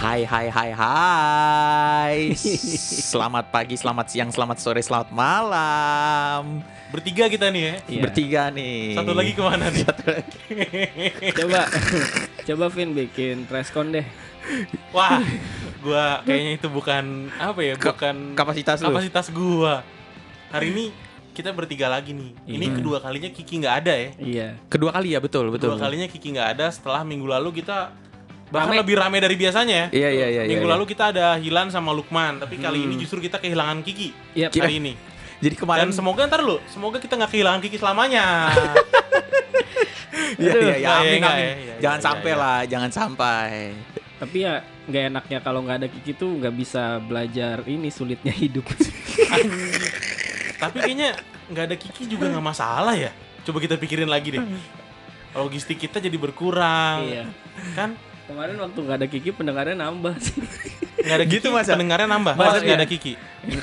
Hai hai hai hai Selamat pagi, selamat siang, selamat sore, selamat malam Bertiga kita nih ya. Iya. Bertiga nih Satu lagi kemana nih? coba coba Vin bikin press con deh Wah, gua kayaknya itu bukan apa ya, Ka- bukan kapasitas lu? kapasitas gua. Hari ini kita bertiga lagi nih. Ini Iya. kedua kalinya Kiki nggak ada ya. iya Kedua kali ya, betul betul Kedua kalinya Kiki nggak ada setelah minggu lalu kita bahkan Rame. lebih rame dari biasanya. ya. Iya iya iya minggu iya. lalu kita ada Hilan sama Lukman, tapi kali ini justru kita kehilangan Kiki. Yap. Hari ini. Jadi kemarin Dan semoga ntar lu, semoga kita nggak kehilangan Kiki selamanya. Iya iya iya, Nggak, ya, amin nggak, amin ya, ya, Jangan ya, ya, sampai ya. lah, jangan sampai tapi ya nggak enaknya kalau nggak ada Kiki tuh nggak bisa belajar ini sulitnya hidup Tapi kayaknya nggak ada Kiki juga nggak masalah ya. Coba kita pikirin lagi deh. Logistik kita jadi Ah. berkurang, iya kan? kemarin waktu nggak ada Kiki pendengarnya nambah sih Nggak ada Kiki, Gitu, Mas, ya? pendengarnya nambah. Mas, Masa iya. nggak ada Kiki?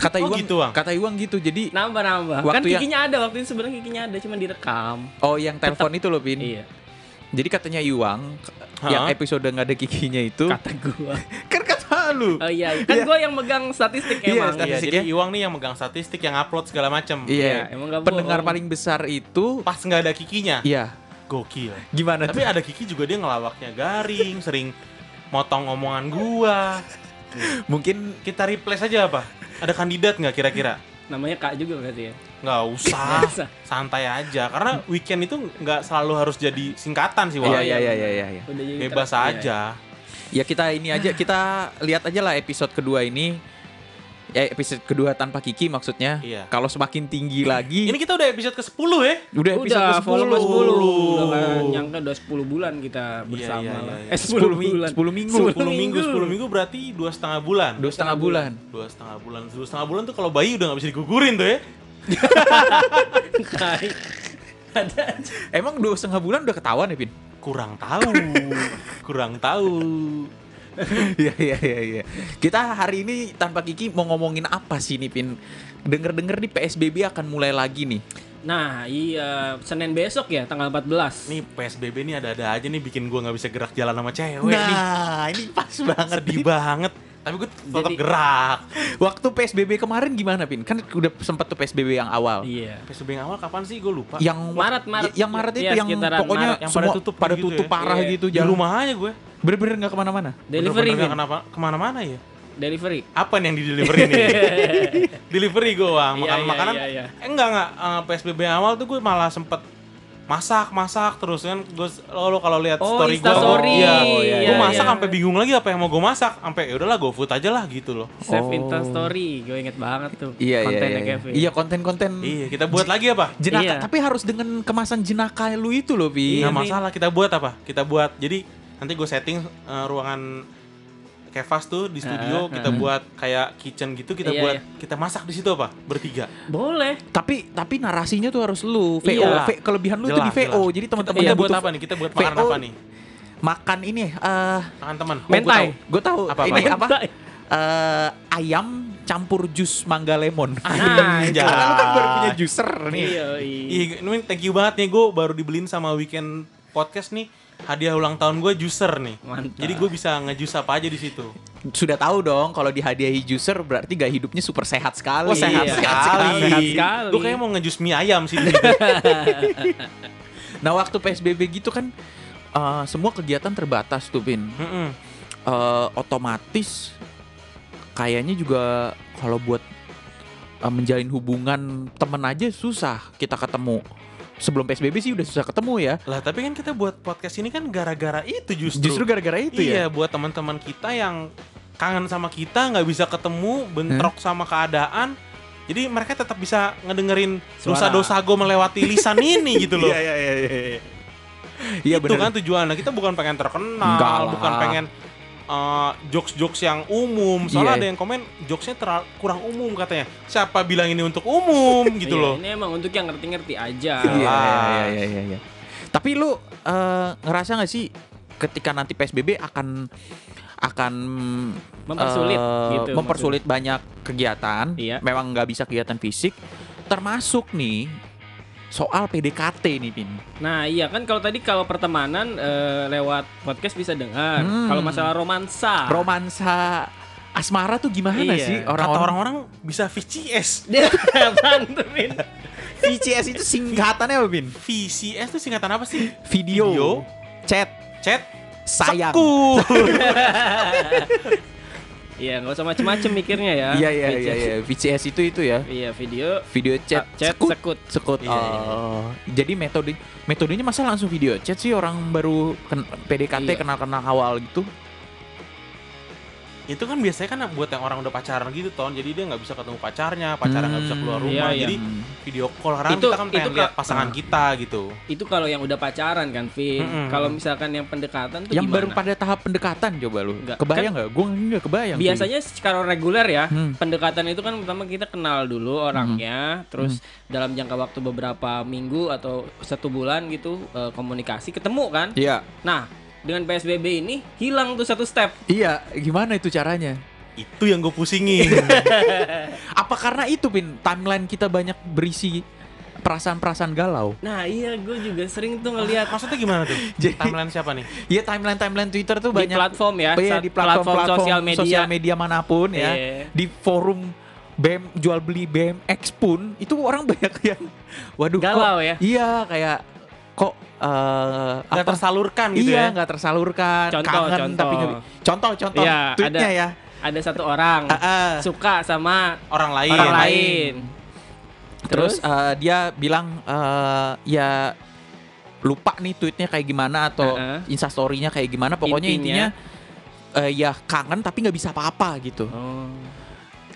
Kata Oh, Iwang, gitu, Wang. kata Iwang gitu, jadi nambah nambah kan Waktu ya- yang- Kikinya ada waktu itu sebenarnya Kikinya ada cuman direkam Oh yang telepon itu loh Pin iya Jadi katanya Iwang Hah? Yang Iya, episode nggak ada kikinya itu kata gua Kan kata lu oh iya kan gua yang megang statistik Iya, emang statistik. Iya, Statistiknya? jadi Iwang nih yang megang statistik, yang upload segala macem. Iya, Iya, emang nggak pendengar bohong. paling besar itu Pas nggak ada Kikinya, Iya, gokil. gimana Tapi ada Kiki juga dia ngelawaknya garing, sering motong omongan gua. tuh? Mungkin Kita replace aja apa? Ada kandidat nggak kira-kira? namanya Kak juga berarti ya Nggak usah, Nggak usah. santai aja. Karena weekend itu nggak selalu harus jadi singkatan sih, Wang. Iya, iya, iya, iya, iya, iya. udah jadi Bebas interaktif. Iya, aja. Ya kita ini aja kita lihat aja lah episode kedua ini. Ya episode kedua tanpa Kiki maksudnya. Iya. Kalau semakin tinggi lagi Ini kita udah episode ke-10 ya. udah Udah, episode ke-10. volume 10. Udah nggak 10. nyangka udah 10 bulan kita bersama iya, lah. iya. Eh 10 10, mi- bulan. 10 minggu. 10 minggu, 10 minggu berarti dua setengah bulan. Dua setengah bulan. Dua setengah bulan. Dua setengah bulan tuh kalau bayi udah nggak bisa digugurin tuh ya. Kai. Ada aja. Emang dua setengah bulan udah ketahuan ya, Pin? Kurang tahu. Kurang tahu. Iya, iya, iya, iya. Kita hari ini tanpa Kiki mau ngomongin apa sih nih, Pin? Denger-denger di PSBB akan mulai lagi nih. Nah, iya Senin besok ya tanggal 14. Nih PSBB nih ada-ada aja nih bikin gua nggak bisa gerak jalan sama cewek nih. nah, ini pas banget Sedih banget. Tapi gue tetap Jadi- gerak. Waktu PSBB kemarin gimana, Pin? Kan udah sempat tuh PSBB yang awal. Iya. PSBB yang awal kapan sih? Gue lupa. yang Ah, Maret, Maret. yang Maret itu Iya, yang sekitaran pokoknya Maret. Yang semua pada tutup pada gitu tutup ya. parah Iya. gitu di jalan rumah aja gue. bener-bener nggak kemana-mana Delivery Bener-bener nggak Vin. kenapa kemana-mana ya. Delivery. Apa nih yang di delivery nih? delivery gue wang Iya, makanan iya, makanan iya, iya. eh enggak enggak Eh, psbb yang awal tuh gue malah sempet masak masak terus kan gue lo, lo kalau lihat Oh, story gue Instastory. iya, Oh, iya, gue iya, masak iya. sampai bingung lagi apa yang mau gue masak sampai ya udahlah gue food aja lah gitu loh Save Oh. Insta story. Gue inget banget tuh. iya iya kontennya iya iya. Kevin. iya konten-konten iya kita buat lagi apa jenaka Iya. tapi harus dengan kemasan jenaka lu itu loh Pin nggak Vin. masalah kita buat apa kita buat jadi nanti gue setting eh, ruangan Kevas tuh di Ah, studio kita buat kayak kitchen gitu kita Iya, buat iya. kita masak di situ apa bertiga Boleh. tapi tapi narasinya tuh harus lu VO Iya. V- kelebihan lu tuh di VO Jelas, jelas. jadi kita, teman-teman kita yang buat butuh apa nih kita buat VO. makan apa Oh. nih makan ini eh makan teman Mentai. gue tahu Apa, apa, ini apa? apa Eh, ayam campur jus mangga lemon Nah, itu. Karena lu kan baru punya juicer nih Iya, iya. Iya, ini thank you banget nih gue baru dibeliin sama weekend podcast nih hadiah ulang tahun gue juicer nih. Mantap. Jadi gue bisa ngejus apa aja di situ. sudah tahu dong kalau dihadiahi juicer berarti gaya hidupnya super sehat sekali. Wah Oh, sehat, Iya, sekali. sehat sekali. Gue kayaknya mau ngejus mie ayam sih. di situ. Nah waktu PSBB gitu kan eh, semua kegiatan terbatas tuh Pin. Mm-mm. Eh, otomatis kayaknya juga kalau buat eh, menjalin hubungan temen aja susah kita ketemu. Sebelum PSBB sih udah susah ketemu ya. lah tapi kan kita buat podcast ini kan gara-gara itu justru. Justru gara-gara itu ya. iya, buat teman-teman kita yang kangen sama kita nggak bisa ketemu bentrok sama keadaan. Jadi mereka tetap bisa ngedengerin Suara. dosa-dosa gue melewati lisan ini gitu loh. iya iya iya. iya. Iya itu bener. kan tujuannya kita bukan pengen terkenal Enggak lah. bukan pengen uh, jokes-jokes yang umum soalnya Iya. ada yang komen jokesnya terlalu kurang umum katanya siapa bilang ini untuk umum gitu Iya, loh Ini emang untuk yang ngerti-ngerti aja. Iya iya iya iya iya. Tapi lu eh, ngerasa nggak sih ketika nanti PSBB akan akan Mempersulit, eh, gitu mempersulit banyak kegiatan. Iya. Memang nggak bisa kegiatan fisik termasuk nih soal PDKT nih Pin. Nah iya kan kalau tadi kalau pertemanan eh, lewat podcast bisa dengar. Hmm. Kalau masalah romansa. Romansa asmara tuh gimana Ah. Iya. sih Kata orang-orang? orang-orang bisa VCS. Dia apaan tuh, Min? VCS itu singkatannya apa Pin? VCS itu singkatan apa sih? Video, Video. chat, Chat sayang. Seku. Iya nggak usah macem-macem mikirnya ya. Iya iya VCS. iya iya. VCS itu itu ya. Iya video Video chat, ah, chat sekut. sekut. Sekut. Iya, iya. Oh. Jadi metode metodenya masa langsung video chat sih orang baru ken- PDKT Iya. kenal-kenal awal gitu. itu kan biasanya kan buat yang orang udah pacaran gitu ton jadi dia nggak bisa ketemu pacarnya pacarnya nggak bisa Hmm, keluar iya, rumah iya. jadi Hmm. video call karena Itu- kita kan pengen itu lihat ka- pasangan Nah. ah. kita gitu Itu kalau yang udah pacaran kan, Vin. Mm-mm. Kalau misalkan yang pendekatan tuh yang gimana? baru pada tahap pendekatan coba lu. Nggak, Kan Kebayang nggak? Gue nggak kebayang. cuy. Biasanya secara reguler ya. Hmm. Pendekatan itu kan pertama kita kenal dulu orangnya, terus dalam jangka waktu beberapa minggu atau satu bulan gitu eh, komunikasi ketemu kan. Iya. Nah dengan PSBB ini hilang tuh satu step. Iya, gimana itu caranya? itu yang gue pusingin Apa karena itu Pin timeline kita banyak berisi perasaan-perasaan galau? Nah iya gue juga sering tuh Ah, ngelihat maksudnya gimana tuh Jadi- timeline siapa nih Iya timeline timeline Twitter tuh di ah, banyak platform ya, Oh iya, saat di platform, platform sosial media. manapun ya. Iya. Di forum BM jual beli BMX pun itu orang banyak yang waduh kok- Galau ya? Iya, kayak kok eh, nggak apa- tersalurkan gitu iya, ya nggak tersalurkan, Contoh, kangen contoh. tapi nggak- contoh contoh Iya, tweetnya ada. ya. Ada satu orang Heeh. suka sama orang lain orang lain. Terus eh, dia bilang eh, ya lupa nih tweetnya kayak gimana atau Heeh. instastorynya kayak gimana pokoknya intinya, Intinya. eh, ya kangen tapi nggak bisa apa-apa gitu. Oh.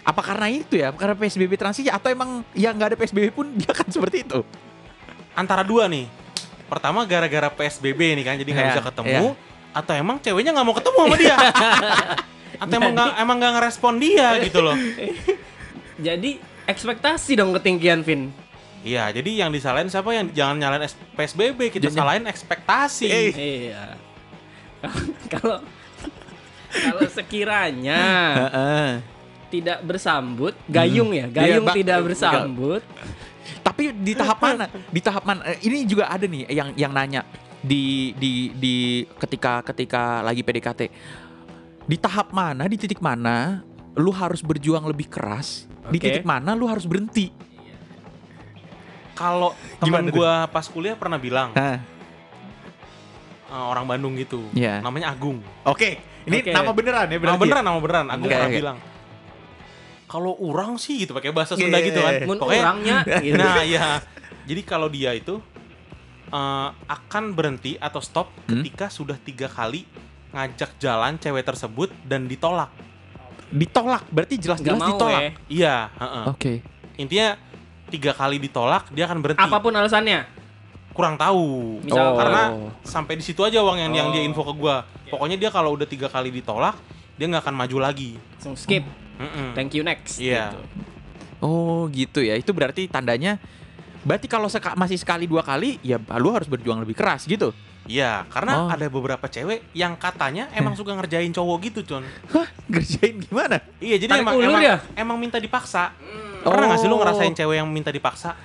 Apa karena itu ya? Karena PSBB transisi atau emang ya nggak ada PSBB pun dia akan seperti itu? antara dua nih pertama gara-gara PSBB nih kan jadi nggak Iya, bisa ketemu atau emang ceweknya nggak mau ketemu sama dia atau emang nggak emang nggak ngerespon dia gitu loh Jadi ekspektasi dong ketinggian Vin. Iya, jadi yang disalahin siapa yang jangan nyalain S- PSBB, kita Jangan- salahin ekspektasi. Eh. Iya. Kalau kalau sekiranya Heeh. tidak bersambut, gayung ya, Iya, gayung Mbak. tidak bersambut. Tapi di tahap mana? Di tahap mana? Eh, Ini juga ada nih yang yang nanya di di di ketika ketika lagi PDKT. Di tahap mana? Di titik mana lu harus berjuang lebih keras? Di Oke. titik mana lu harus berhenti? Kalau Gimana teman tuh? gua pas kuliah pernah bilang Hah. eh, orang Bandung gitu, Iya. namanya Agung. Oke, ini Oke. nama beneran ya Nama berarti. beneran, nama beneran. Agung Oke, pernah oke. bilang kalau orang sih gitu pakai bahasa Iya, Sunda iya, gitu kan. iya. Mun Pokoknya- orangnya gitu. Nah, iya. Jadi kalau dia itu eh, akan berhenti atau stop Hmm? ketika sudah tiga kali ngajak jalan cewek tersebut dan ditolak. ya? Ditolak, berarti nggak jelas-jelas mau ditolak. ya. Iya, heeh. Oke. Intinya tiga kali ditolak dia akan berhenti. Apapun alasannya. Kurang tahu. Misal- Karena sampai di situ aja uang yang, yang dia Oh. info ke gua. Pokoknya dia kalau udah tiga kali ditolak dia nggak akan maju lagi. Langsung skip. Hmm. Mm-mm. Thank you next. Iya. gitu. Oh, gitu ya. Itu berarti tandanya berarti kalau seka- masih sekali dua kali ya lu harus berjuang lebih keras gitu. Iya, karena Oh. ada beberapa cewek yang katanya emang suka ngerjain cowok gitu, Con. Hah, ngerjain gimana? Iya, Tarik jadi emang ulur emang, ya? emang minta dipaksa. Pernah nggak sih lu Oh. ngerasain cewek yang minta dipaksa?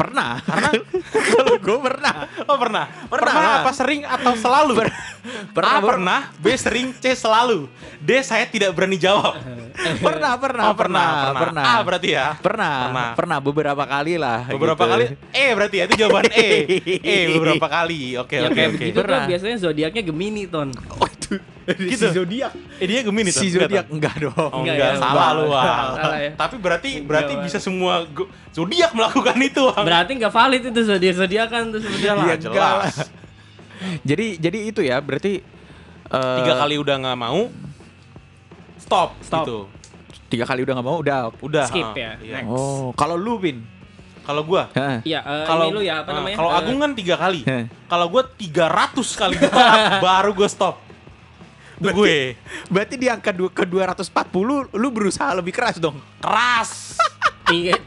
Pernah, karena kalau gue pernah. Oh, pernah. Pernah, Pernah. apa sering atau selalu? pernah, A, Ah, pernah, B sering, C selalu. D saya tidak berani jawab. Pernah, pernah, Oh, pernah, pernah, pernah. A berarti ya. Pernah, Pernah. pernah beberapa kali lah. Beberapa gitu. kali E berarti ya itu jawaban E. E beberapa kali. Yang Ya, Oke, oke, Iya, kayak oke. begitu Pernah. tuh biasanya zodiaknya Gemini, Ton. Oh, itu. Gitu. Si zodiak. Eh dia Gemini tuh. Si zodiak enggak dong. Oh, Enggak enggak, ya? salah Enggak. lu. Wal. Salah ya. Tapi berarti Enggak, berarti Wal. bisa semua go- zodiak melakukan itu. Wal. Berarti nggak valid itu zodiak zodiakan tuh Iya sebenarnya. lah, Iya, enggak lah. jelas. Jadi jadi itu ya, berarti eh, Tiga kali udah nggak mau stop, Stop. gitu. tiga kali udah nggak mau udah Udah. Skip ha, ya, iya. next. oh kalau lu pin Kalau gua Hah. Iya, eh, ini kalau lu ya apa ha, namanya? Kalau Eh, Agung kan tiga kali. Heh. Kalau gua 300 kali ditolak baru gua stop. Itu gue berarti di angka dua, ke 240 lu berusaha lebih keras dong keras.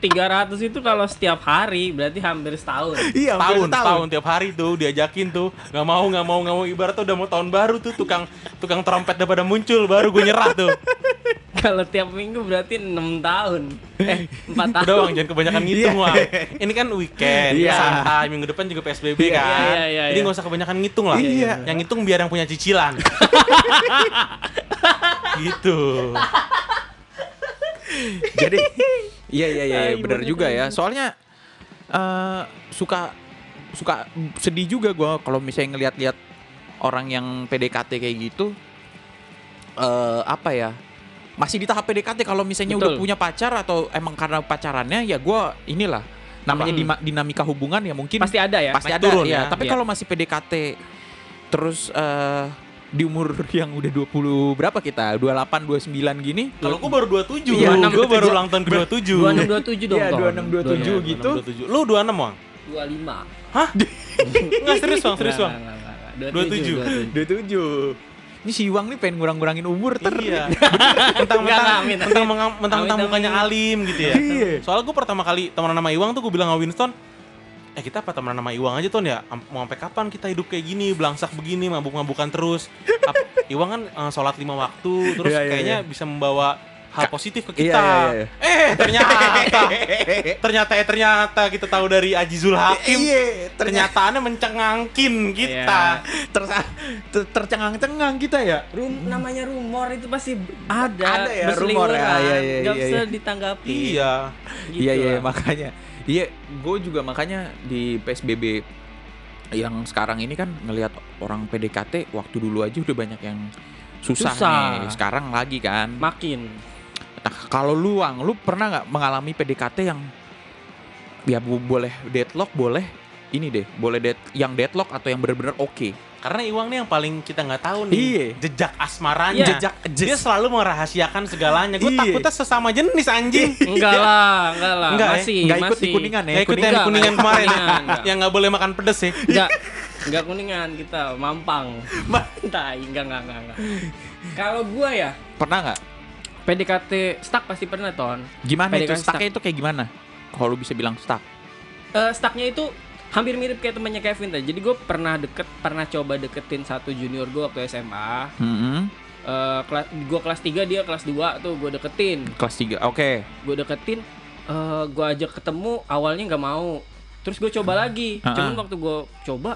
tiga- 300 itu kalau setiap hari berarti hampir setahun. iya tahun, tahun tahun tiap hari tuh diajakin tuh nggak mau nggak mau nggak mau ibarat tuh udah mau tahun baru tuh tukang tukang trompet udah pada muncul baru gue nyerah tuh Kalau tiap minggu berarti 6 tahun. Eh, 4 tahun. Udah Wang, jangan kebanyakan Iya. ngitung Wang. Ini kan weekend, Iya. santai, minggu depan juga PSBB Iya. kan. Iya, iya, Jadi iya. nggak usah kebanyakan ngitung lah. Iya. Yang ngitung biar yang punya cicilan. gitu. Jadi iya iya iya Ay, benar ibunya juga kayak ya. Soalnya eh, suka suka sedih juga gua kalau misalnya ngelihat-lihat orang yang PDKT kayak gitu eh apa ya? Masih di tahap PDKT kalau misalnya udah Betul. punya pacar atau emang karena pacarannya ya gua inilah namanya Hmm. dima- dinamika hubungan ya mungkin Pasti ada ya. pasti naik ada turun ya. ya. Tapi Iya. kalau masih PDKT terus eh di umur yang udah 20 berapa kita? 28 29 gini Kalau gua baru 27, Iya, enam, gua baru tujuh. ulang tahun ke 27. 2627 dong. Iya, Ton. 2627 2627. gitu. 26, 27. Lu 26, Wang? gitu. 25. Hah? Enggak serius, Wang, serius, Wang. Enggak, enggak, enggak, enggak. 27. 27. 27. Ini si Iwang nih pengen ngurang-ngurangin umur ter. Iya. Mentang-mentang Enggak, enggak, amin, amin. mentang mentang-mentang Amin, mukanya amin. alim gitu ya. Iya. Soalnya gue pertama kali temenan sama Iwang tuh gue bilang sama Winston, eh kita apa temenan sama Iwang aja Ton ya? Am- Mau sampai kapan kita hidup kayak gini, belangsak begini, mabuk-mabukan terus. Ap- Iwang kan eh, sholat lima waktu, terus Iya, iya, kayaknya bisa membawa hal positif ke Iya, kita. iya, iya. Eh ternyata, ternyata eh ternyata kita tahu dari Aji Zulhakim. Iya, Ternyataannya mencengangkin kita. Ter ter- tercengang-cengang kita ya. Rum, namanya rumor itu pasti ada. Ada ya, berseliweran. rumor ya. Iya, iya, Nggak iya, bisa iya. ditanggapi. Iya. Gitu iya iya lah. makanya. Iya, gue juga makanya di PSBB yang sekarang ini kan ngelihat orang PDKT waktu dulu aja udah banyak yang susah, Susah. nih. Sekarang lagi kan. Makin. Nah, kalau lu Wang, lu pernah nggak mengalami PDKT yang ya bu- boleh deadlock, boleh ini deh, boleh dead, yang deadlock atau yang bener-bener oke. Karena Iwang nih yang paling kita nggak tahu nih Iya. jejak asmaranya. Iya. Jejak Dia selalu merahasiakan segalanya. Gue Iya. takutnya sesama jenis anjing. Enggak lah, enggak lah. Enggak ya? masih, nggak ikut masih. di kuningan ya. Nggak ikut yang Iya, Kuningan, Iya, kuningan nggak kemarin. kuningan, nggak. yang nggak boleh makan pedes ya. Enggak. Enggak kuningan kita, mampang. Mantai, enggak enggak enggak. enggak. Kalau gua ya, Pernah nggak? PDKT stuck pasti pernah ton. Gimana PDKT itu stucknya itu kayak gimana? Kalau lu bisa bilang stuck. Eh, stucknya itu hampir mirip kayak temannya Kevin tadi. Jadi gue pernah deket, pernah coba deketin satu junior gue waktu SMA. Mm-mm. Eh kelas, gue kelas 3 dia kelas 2 tuh gue deketin. Kelas 3. Oke. Gue deketin, eh gue ajak ketemu awalnya nggak mau. Terus gue coba lagi. Ah, Cuman ah. waktu gue coba,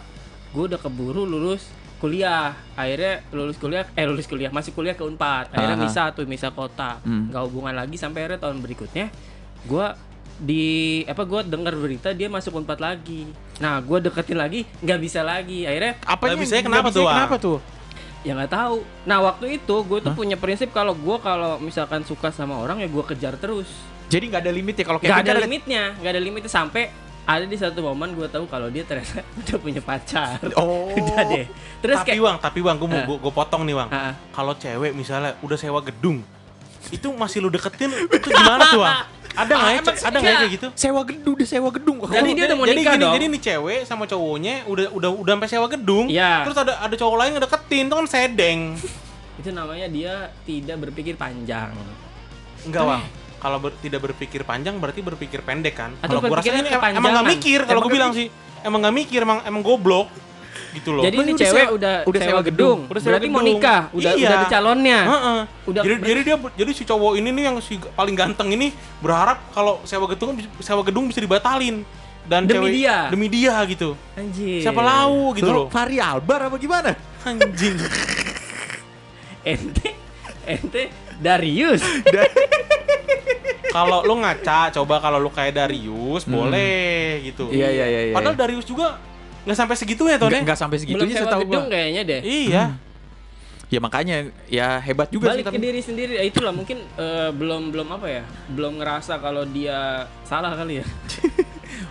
gue udah keburu lulus kuliah. Akhirnya lulus kuliah, eh lulus kuliah masih kuliah ke Unpad. Akhirnya Ah, ah. misah tuh misah kota. Hmm. Nggak hubungan lagi sampai akhirnya tahun berikutnya gue di apa gue dengar berita dia masuk Unpad lagi. Nah gue deketin lagi nggak bisa lagi. Akhirnya Apa Nggak bisanya kenapa tuh, Wang? Kenapa tuh? ya nggak tahu. Nah waktu itu gue tuh punya prinsip kalau gue kalau misalkan suka sama orang ya gue kejar terus. Jadi nggak ada limit ya kalau kayak Gak ada limitnya, gak ada limitnya sampai ada di satu momen gue tahu kalau dia ternyata udah punya pacar. Oh. udah deh. Terus tapi kayak Wang, tapi Wang, gue mau Ah. gua- gua potong nih Wang. Ah. Kalau cewek misalnya udah sewa gedung, itu masih lu deketin, itu gimana tuh Wang? Ada nggak ya, Emang- ada nggak ya Iya. kayak gitu? Sewa gedung, udah sewa gedung. Jadi dia udah mau jadi nikah gini, dong. Jadi nih cewek sama cowoknya udah udah udah sampai sewa gedung. Iya. Terus ada ada cowok lain ngedeketin, itu kan sedeng. itu namanya dia tidak berpikir panjang. Enggak, Wang. Kalau ber- tidak berpikir panjang berarti berpikir pendek kan? Atau Kalau gua rasa berpikirnya ini em- emang nggak kepanjangan. mikir kalau Emang gue bilang sih. Emang nggak mikir, emang emang goblok gitu loh. Jadi ini udah cewek sewa- udah udah sewa gedung. Udah sewa berarti mau gedung. nikah, udah Iya. udah ada calonnya. Heeh. Udah- jadi, jadi dia jadi si cowok ini nih yang si g- paling ganteng ini berharap kalau sewa gedung kan bisa- sewa gedung bisa dibatalin dan Demi cewek- dia. Iya. demi dia gitu. Anjir. Siapa lau gitu loh. Fahri Albar apa gimana? Anjing. Ente ente Darius. kalau lu ngaca coba kalau lu kayak Darius boleh gitu. Hmm. Iya, iya, iya, iya. Padahal Darius juga nggak sampai segitu ya Tone. Enggak sampai Belum segitunya sewa setahu gedung gua. kayaknya deh. Iya. Ya makanya ya hebat juga sih, Balik ke tapi- diri sendiri. Ya, itulah mungkin eh, belum belum apa ya? Belum ngerasa kalau dia salah kali ya.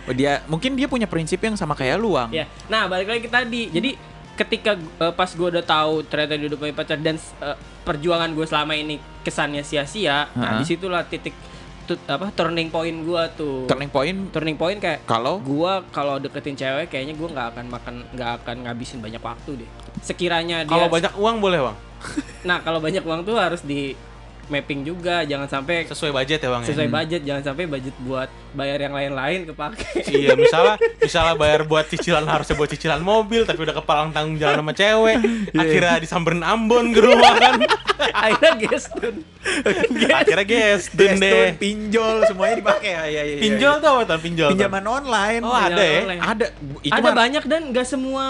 Oh, dia mungkin dia punya prinsip yang sama kayak lu, Wang. Ya. Nah, balik lagi ke tadi. Jadi ketika eh, pas gue udah tahu ternyata dia udah punya pacar dan eh, perjuangan gue selama ini kesannya sia-sia. Nah, Ha-ha. disitulah titik tut- apa turning point gue tuh. Turning point Turning point kayak kalau gue kalau deketin cewek kayaknya gue nggak akan makan nggak akan ngabisin banyak waktu deh. Sekiranya dia Kalau banyak uang boleh, Bang. Nah, kalau banyak uang tuh harus di mapping juga jangan sampai sesuai budget ya bang ya? sesuai budget jangan sampai budget buat bayar yang lain-lain kepake Iya misalnya misalnya bayar buat cicilan harusnya buat cicilan mobil tapi udah kepalang tanggung jalan sama cewek akhirnya disamperin Ambon ke rumah kan akhirnya gestun akhirnya guys deh Geston, pinjol semuanya dipakai. Ya, ya, ya, ya. pinjol tuh apa tuh pinjol tuh? pinjaman online. Oh, ada ya? online. Ada bu- itu ada mah- banyak dan gak semua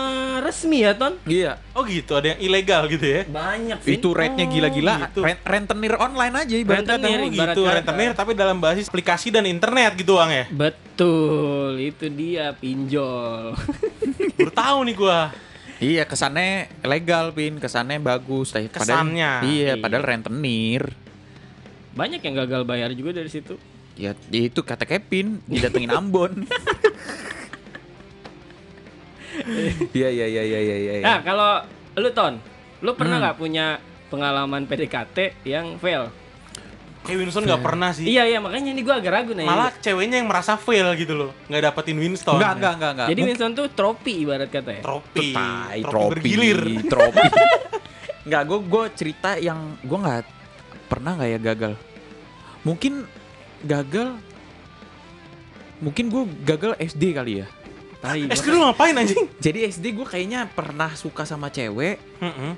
resmi ya ton Iya. oh gitu ada yang ilegal gitu ya banyak sih Oh, Itu rate-nya gila-gila. gitu. Ren- rentenir online aja ibaratnya. Rentenir. oh ibarat gitu kata. rentenir tapi dalam basis aplikasi dan internet gitu bang ya betul itu dia pinjol baru tahu nih gua Iya, kesannya legal pin, kesannya bagus. tapi padahal- Kesannya. Iya, Iya. padahal rentenir. banyak yang gagal bayar juga dari situ Ya itu kata Kevin didatengin Ambon. Iya iya iya iya iya iya. iya. nah kalau lu ton lu Hmm. pernah nggak punya pengalaman PDKT yang fail kayak Winston nggak pernah sih iya iya makanya ini gua agak ragu nih malah ceweknya yang merasa fail gitu loh nggak dapetin Winston Enggak enggak enggak enggak. jadi Winston tuh tropi ibarat kata ya tropi Tai, tropi bergilir tropi. Enggak, gue gue cerita yang gue nggak pernah nggak ya gagal. Mungkin gagal. Mungkin gue gagal SD kali ya. Tai. es dulu Eh, ngapain anjing Jadi SD gue kayaknya pernah suka sama cewek. Mm-mm.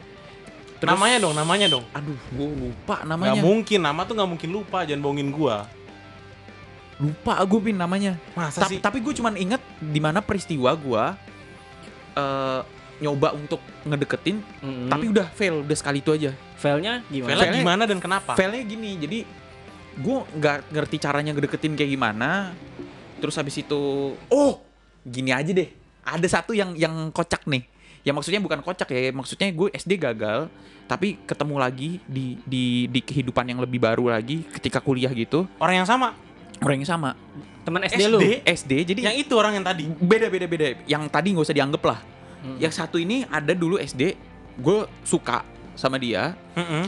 namanya dong namanya dong Aduh, gue lupa nggak namanya. mungkin nama tuh nggak mungkin lupa jangan bohongin gua lupa gue pin namanya. masa Ta- sih tapi gue cuman inget di mana peristiwa gue eh nyoba untuk ngedeketin, Mm-mm. tapi udah fail udah sekali itu aja. failnya gimana Failnya gimana dan kenapa? failnya gini jadi gue nggak ngerti caranya ngedeketin kayak gimana terus habis itu oh gini aja deh ada satu yang yang kocak nih ya maksudnya bukan kocak ya maksudnya gue SD gagal tapi ketemu lagi di di di kehidupan yang lebih baru lagi ketika kuliah gitu Orang yang sama. orang yang sama teman SD, SD? lu SD jadi Yang itu orang yang tadi. beda beda beda yang tadi nggak usah dianggap lah Mm. yang satu ini ada dulu SD gue suka sama dia Mm-mm.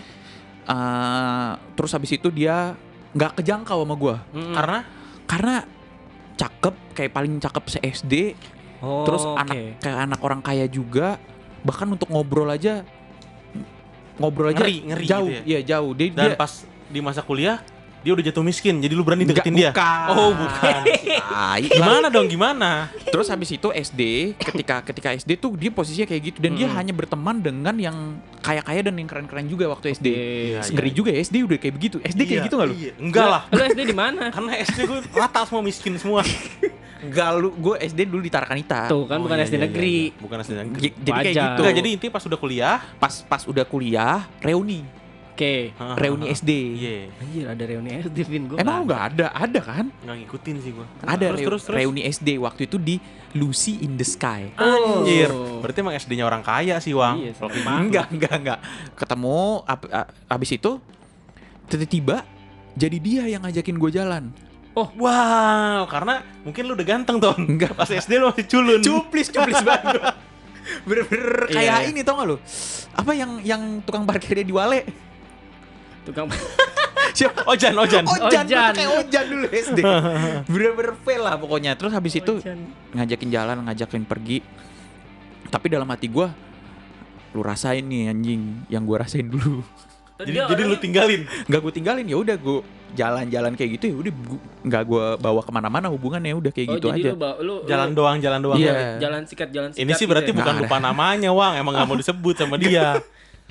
Eh, terus habis itu dia nggak kejangkau sama gue Mm-mm. Karena karena cakep kayak paling cakep se SD Oh, terus oke. anak kayak anak orang kaya juga bahkan untuk ngobrol aja ngobrol aja Ngeri, ngeri jauh gitu ya? jauh dia, dan dia pas di masa kuliah dia udah jatuh miskin. Jadi lu berani Nggak, deketin dia. bukan. Oh, bukan. Tai. gimana dong gimana? terus habis itu SD ketika ketika SD tuh dia posisinya kayak gitu dan dia Hmm. Mm-mm. hanya berteman dengan yang kaya-kaya dan yang keren-keren juga waktu SD Oke. Iya, ngeri juga ya SD udah kayak begitu SD kayak Iya, gitu nggak lu iya. Enggak lah. Lu SD di mana? Karena SD gue rata semua miskin semua. Enggak lu gue SD dulu di Tarakanita Tuh kan bukan Oh, iya, SD iya, negeri. iya, iya. Bukan SD negeri. J- jadi kayak Wajar. gitu Enggak, jadi intinya pas udah kuliah, pas pas udah kuliah reuni Oke. reuni SD Iya, Anjir ada reuni SD Vin gua. Emang nggak ada? Ada kan? enggak ngikutin sih gue. Ada terus reu- terus terus. reuni SD waktu itu di Lucy in the Sky. Anjir. Oh. Berarti emang SD-nya orang kaya sih, Wang. Iya, sih. Kalau kayak gitu. Enggak, enggak, enggak. Ketemu ab- a- abis itu tiba-tiba jadi dia yang ngajakin gue jalan. Oh, Wow, karena mungkin lu udah ganteng, Ton. Enggak. Pas SD lu masih culun. Cuplis, cuplis banget. gua. Bener-bener Iya, kayak iya. ini tau gak lu? Apa yang yang tukang parkirnya di Wale? Tukang Siapa? Ojan, Ojan. Ojan, gua Ojan. tuh kayak Ojan dulu SD. Bener-bener fail lah pokoknya. Terus habis itu ngajakin jalan, ngajakin pergi. Tapi dalam hati gue, lu rasain nih anjing yang gue rasain dulu. Jadi, jadi lu tinggalin. Nggak gue tinggalin ya udah gue jalan-jalan kayak gitu ya udah gu- nggak gue bawa kemana-mana hubungannya udah kayak Oh, gitu jadi aja. lu bawa- lu Jalan lu- doang, jalan doang. Iya. jalan sikat jalan sikat. Ini sih gitu berarti ya? bukan Nggak lupa namanya, Wang. Emang nggak mau disebut sama dia.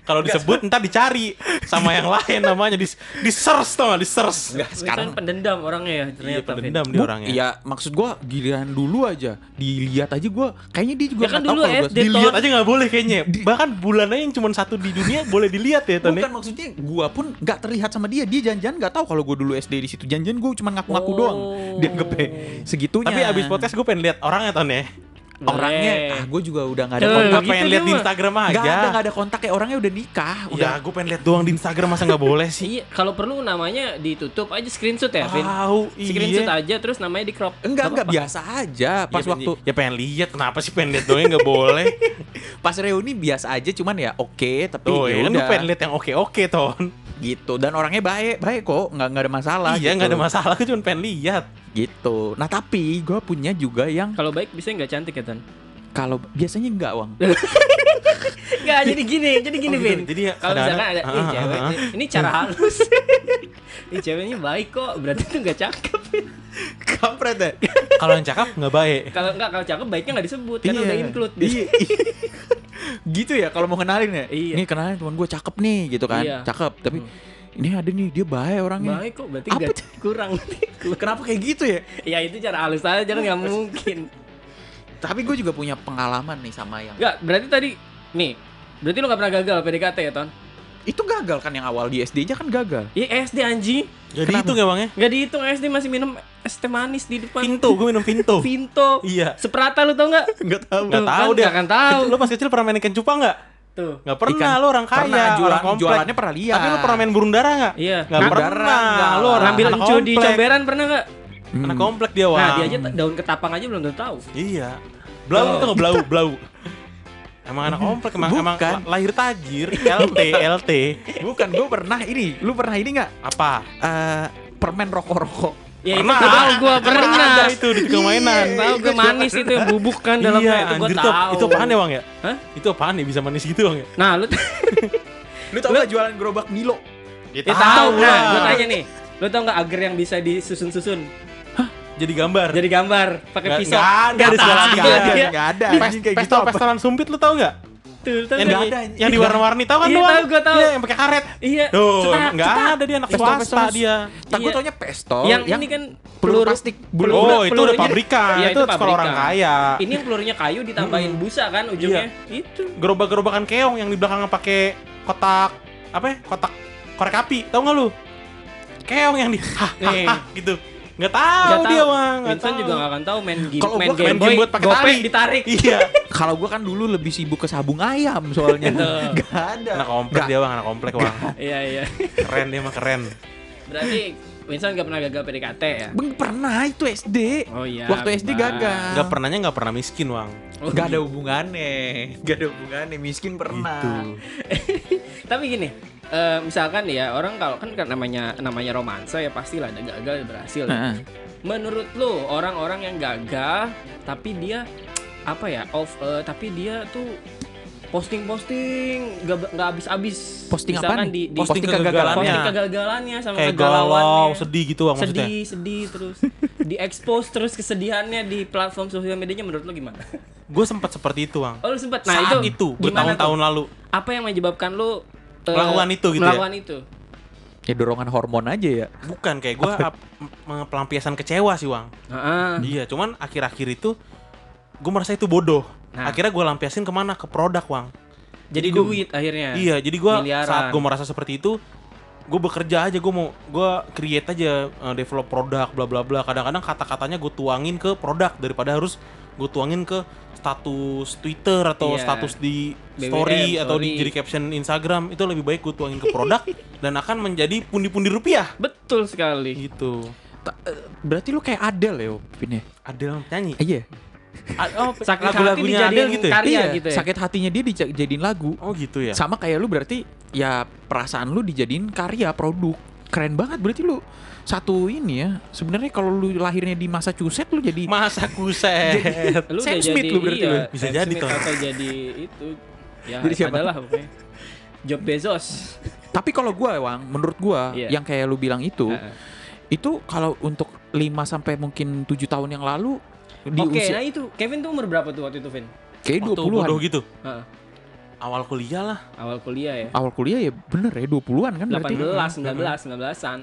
Kalau disebut ntar dicari sama yang lain namanya di di search tau nggak? di search. Nggak, Winston sekarang pendendam orangnya ya Iya, ternyata. pendendam Bu, dia orangnya. Iya maksud gue giliran dulu aja dilihat aja gue kayaknya dia juga Ya kan nggak tahu dulu kalau gua- SD. Dilihat Ton. aja nggak boleh kayaknya. Di- Bahkan bulannya yang cuma satu di dunia boleh dilihat gitu, ya, Ton. ya? Bukan maksudnya gue pun nggak terlihat sama dia dia janjian nggak tahu kalau gue dulu SD di situ janjian gue cuma ngaku-ngaku Oh. doang dianggapnya segitunya. Tapi abis podcast gue pengen lihat orangnya, Ton Eh, ya. Boleh. orangnya ah gue juga udah nggak ada Tuh, kontak Nggak gitu pengen dia lihat di mah. Instagram Gak ada aja. gak ada kontak ya orangnya udah nikah udah Ya, gue pengen lihat doang di Instagram masa nggak boleh sih. Iya, kalau perlu namanya ditutup aja screenshot Iya, ya, Vin. Tahu, Screenshot iya. aja terus namanya di crop. enggak Gak enggak apa-apa. biasa aja pas Ya, pengen- waktu ya pengen lihat kenapa sih pengen lihat doang nggak boleh pas reuni biasa aja cuman ya oke tapi tuh ya ya kan gue udah pengen lihat yang oke oke ton gitu dan orangnya baik baik kok nggak nggak ada masalah iya gitu. nggak ada masalah gue cuma pengen lihat gitu nah tapi gue punya juga yang Kalau baik bisa nggak cantik ya, Tan? kalau biasanya enggak wang Enggak, jadi gini, jadi gini, Oh, gitu. Vin. Jadi ya, kalau misalkan kadang-kadang- ada ini Ah, ah, cewek, ah, ah. ini cara halus. ini ceweknya baik kok, berarti itu enggak cakep. Vin. Kampret deh. Kalau yang cakep nggak baik. Kalau enggak kalau cakep baiknya enggak disebut karena Iya. Kan udah include. Iya. gitu ya kalau mau kenalin ya. Iya. Nih kenalin teman gue cakep nih gitu kan. Iya. Cakep tapi ini ada nih dia baik orangnya. Baik kok, berarti Apa enggak kurang. Kenapa kayak gitu ya? ya itu cara halus aja, jangan nggak mungkin. Tapi gue juga punya pengalaman nih sama yang Enggak, berarti tadi nih, berarti lu nggak pernah gagal PDKT ya, Ton? itu gagal kan yang awal di SD aja kan gagal. Iya SD anjing. Jadi itu nggak bang ya? Nggak dihitung SD masih minum es teh manis di depan Pintu, gue minum pintu. Vinto. Iya. Seprata lu tau nggak? Enggak tahu. Nggak Tuh, tahu kan deh. nggak akan tahu. Lo pas kecil pernah main ikan cupang nggak? Tuh. Nggak pernah, Ikan- lo orang kaya, pernah, orang jualan- komplek. jualannya pernah liar. Tapi lo pernah main burung dara nggak? Iya. Nggak Burung pernah. dara nggak. Lo orang Ngambil anak encu di komplek. comberan pernah nggak? Anak komplek dia, Wang. Nah, dia aja t- daun ketapang aja belum tentu tahu. Iya. Blau Tuh. itu nggak blau, blau. Emang anak komplek, emang, emang Bukan. la- lahir tajir, Iya. LT, LT. Bukan gue pernah ini. Lu pernah ini nggak? Apa? Eh, permen rokok-rokok. Ya itu Pernah. tahu gua pernah. Iya, Ada itu di tukang mainan. Tahu gue manis itu yang bubuk kan dalamnya itu gua Iya, anjir, itu, tahu. itu apaan ya, Bang ya? Hah? Itu apaan ya bisa manis gitu, Bang ya? Nah, lu Lu tau gak jualan gerobak Milo? Ya, ya, tahu lah. nah, gua tanya nih. Lu tau nggak agar yang bisa disusun-susun? Jadi gambar. Jadi gambar Nggak- pakai pisau. nggak ada di sekolah tahu Iya. kita. dia. Nggak Gak ada. Pes- Anjing kayak gitu Pestol, apa? pestolan sumpit lu tau nggak? Tuh, lu tau Yang, nggak? di, ada, anjing. yang diwarna-warni tau kan Iya, lu? Bang? tahu, gua tahu. Iya, yang pakai karet. Iya. Duh, cetak, nggak cetak. ada dia anak Pestol, swasta pestol. dia. Tak gue Iya. taunya pestol. yang, ini kan peluru plastik. peluru- Oh, itu udah pelurunya- pabrikan. Iya, Itu sekolah orang pabrikan. kaya. Iya. Ini yang pelurunya kayu ditambahin busa kan ujungnya. Itu. gerobak-gerobakan keong yang di belakangnya pakai kotak apa ya? Kotak korek api. Tahu nggak lu? Keong yang di hah, hah, Nih. hah, gitu. Nggak tahu Nggak tahu. dia, Bang. Nggak Vincent tahu. juga gak akan tahu main game, Kalau main gua game main boy, game buat pakai gopeng tali. ditarik. Iya. Kalau gue kan dulu lebih sibuk ke sabung ayam soalnya. Gak ada. Anak komplek Nggak. dia, Bang. Anak komplek, Bang. Iya iya. Keren dia mah keren. Berarti Vincent gak pernah gagal PDKT ya? Bang, pernah itu SD. Oh iya. Waktu SD Bang. gagal. Nggak pernahnya nggak pernah miskin, Bang. Oh, Gak ada hubungannya. Gak ada hubungannya. Miskin pernah. Gitu. Tapi gini, eh, misalkan ya orang kalau kan kan namanya namanya romansa ya pastilah ada gagal ada berhasil. Heeh. Menurut lu orang-orang yang gagal tapi dia apa ya off eh, tapi dia tuh posting-posting nggak nggak habis-habis Posting Misalkan apaan? di, di Posting kegagalannya. posting kegagalannya sama Kayak galau, kegalauannya sedih gitu, Bang maksudnya. sedih sedih terus diekspos terus kesedihannya di platform sosial medianya menurut lu gimana? Gue sempat seperti itu, Bang. Oh lu sempet nah Saat itu, itu, gimana bertahun-tahun tuh? lalu. apa yang menyebabkan lu eh, Melakukan itu gitu ya? melakukan itu Ya dorongan hormon aja ya. Bukan kayak gue pelampiasan kecewa sih, Bang. Heeh. Iya, cuman akhir-akhir itu gue merasa itu bodoh. Nah. Akhirnya gue lampiasin kemana? Ke produk, Wang. jadi Jadi gua- duit akhirnya Iya, jadi gue Eh, Miliaran. saat gue merasa seperti itu, gue bekerja aja, gue mau gue create aja, eh, develop produk, bla bla bla. Kadang-kadang kata-katanya gue tuangin ke produk daripada harus gue tuangin ke status Twitter atau Iya. status di BBM, story atau di story. jadi caption Instagram itu lebih baik gue tuangin ke produk dan akan menjadi pundi-pundi rupiah betul sekali gitu. Ta- eh, berarti lu kayak Adele ya, Vin ya? Adel nyanyi. Iya. A- Oh, sakit hati lagu-lagunya Adel dijadiin gitu ya? karya Iya, gitu ya iya. sakit hatinya dia dijadiin lagu. Oh gitu ya. Sama kayak lu berarti ya perasaan lu dijadiin karya produk. Keren banget berarti lu satu ini ya. Sebenarnya kalau lu lahirnya di Massachusetts lu jadi Masa kuset. lu Sam udah Smith jadi lu berarti iya, lu. Bisa Sam jadi, Smith Ton. atau jadi itu ya Jadi siapa? adalah pokoknya Job Bezos Tapi kalau gua Wang, menurut gua Iya. yang kayak lu bilang itu, Heeh. itu kalau untuk 5 sampai mungkin 7 tahun yang lalu di oke usia nah itu Kevin tuh umur berapa tuh waktu itu Vin kayak Waktu 20-an. bodoh gitu. Heeh. Awal kuliah lah. awal kuliah ya Awal kuliah ya bener ya 20-an kan berarti. 18 19 19-an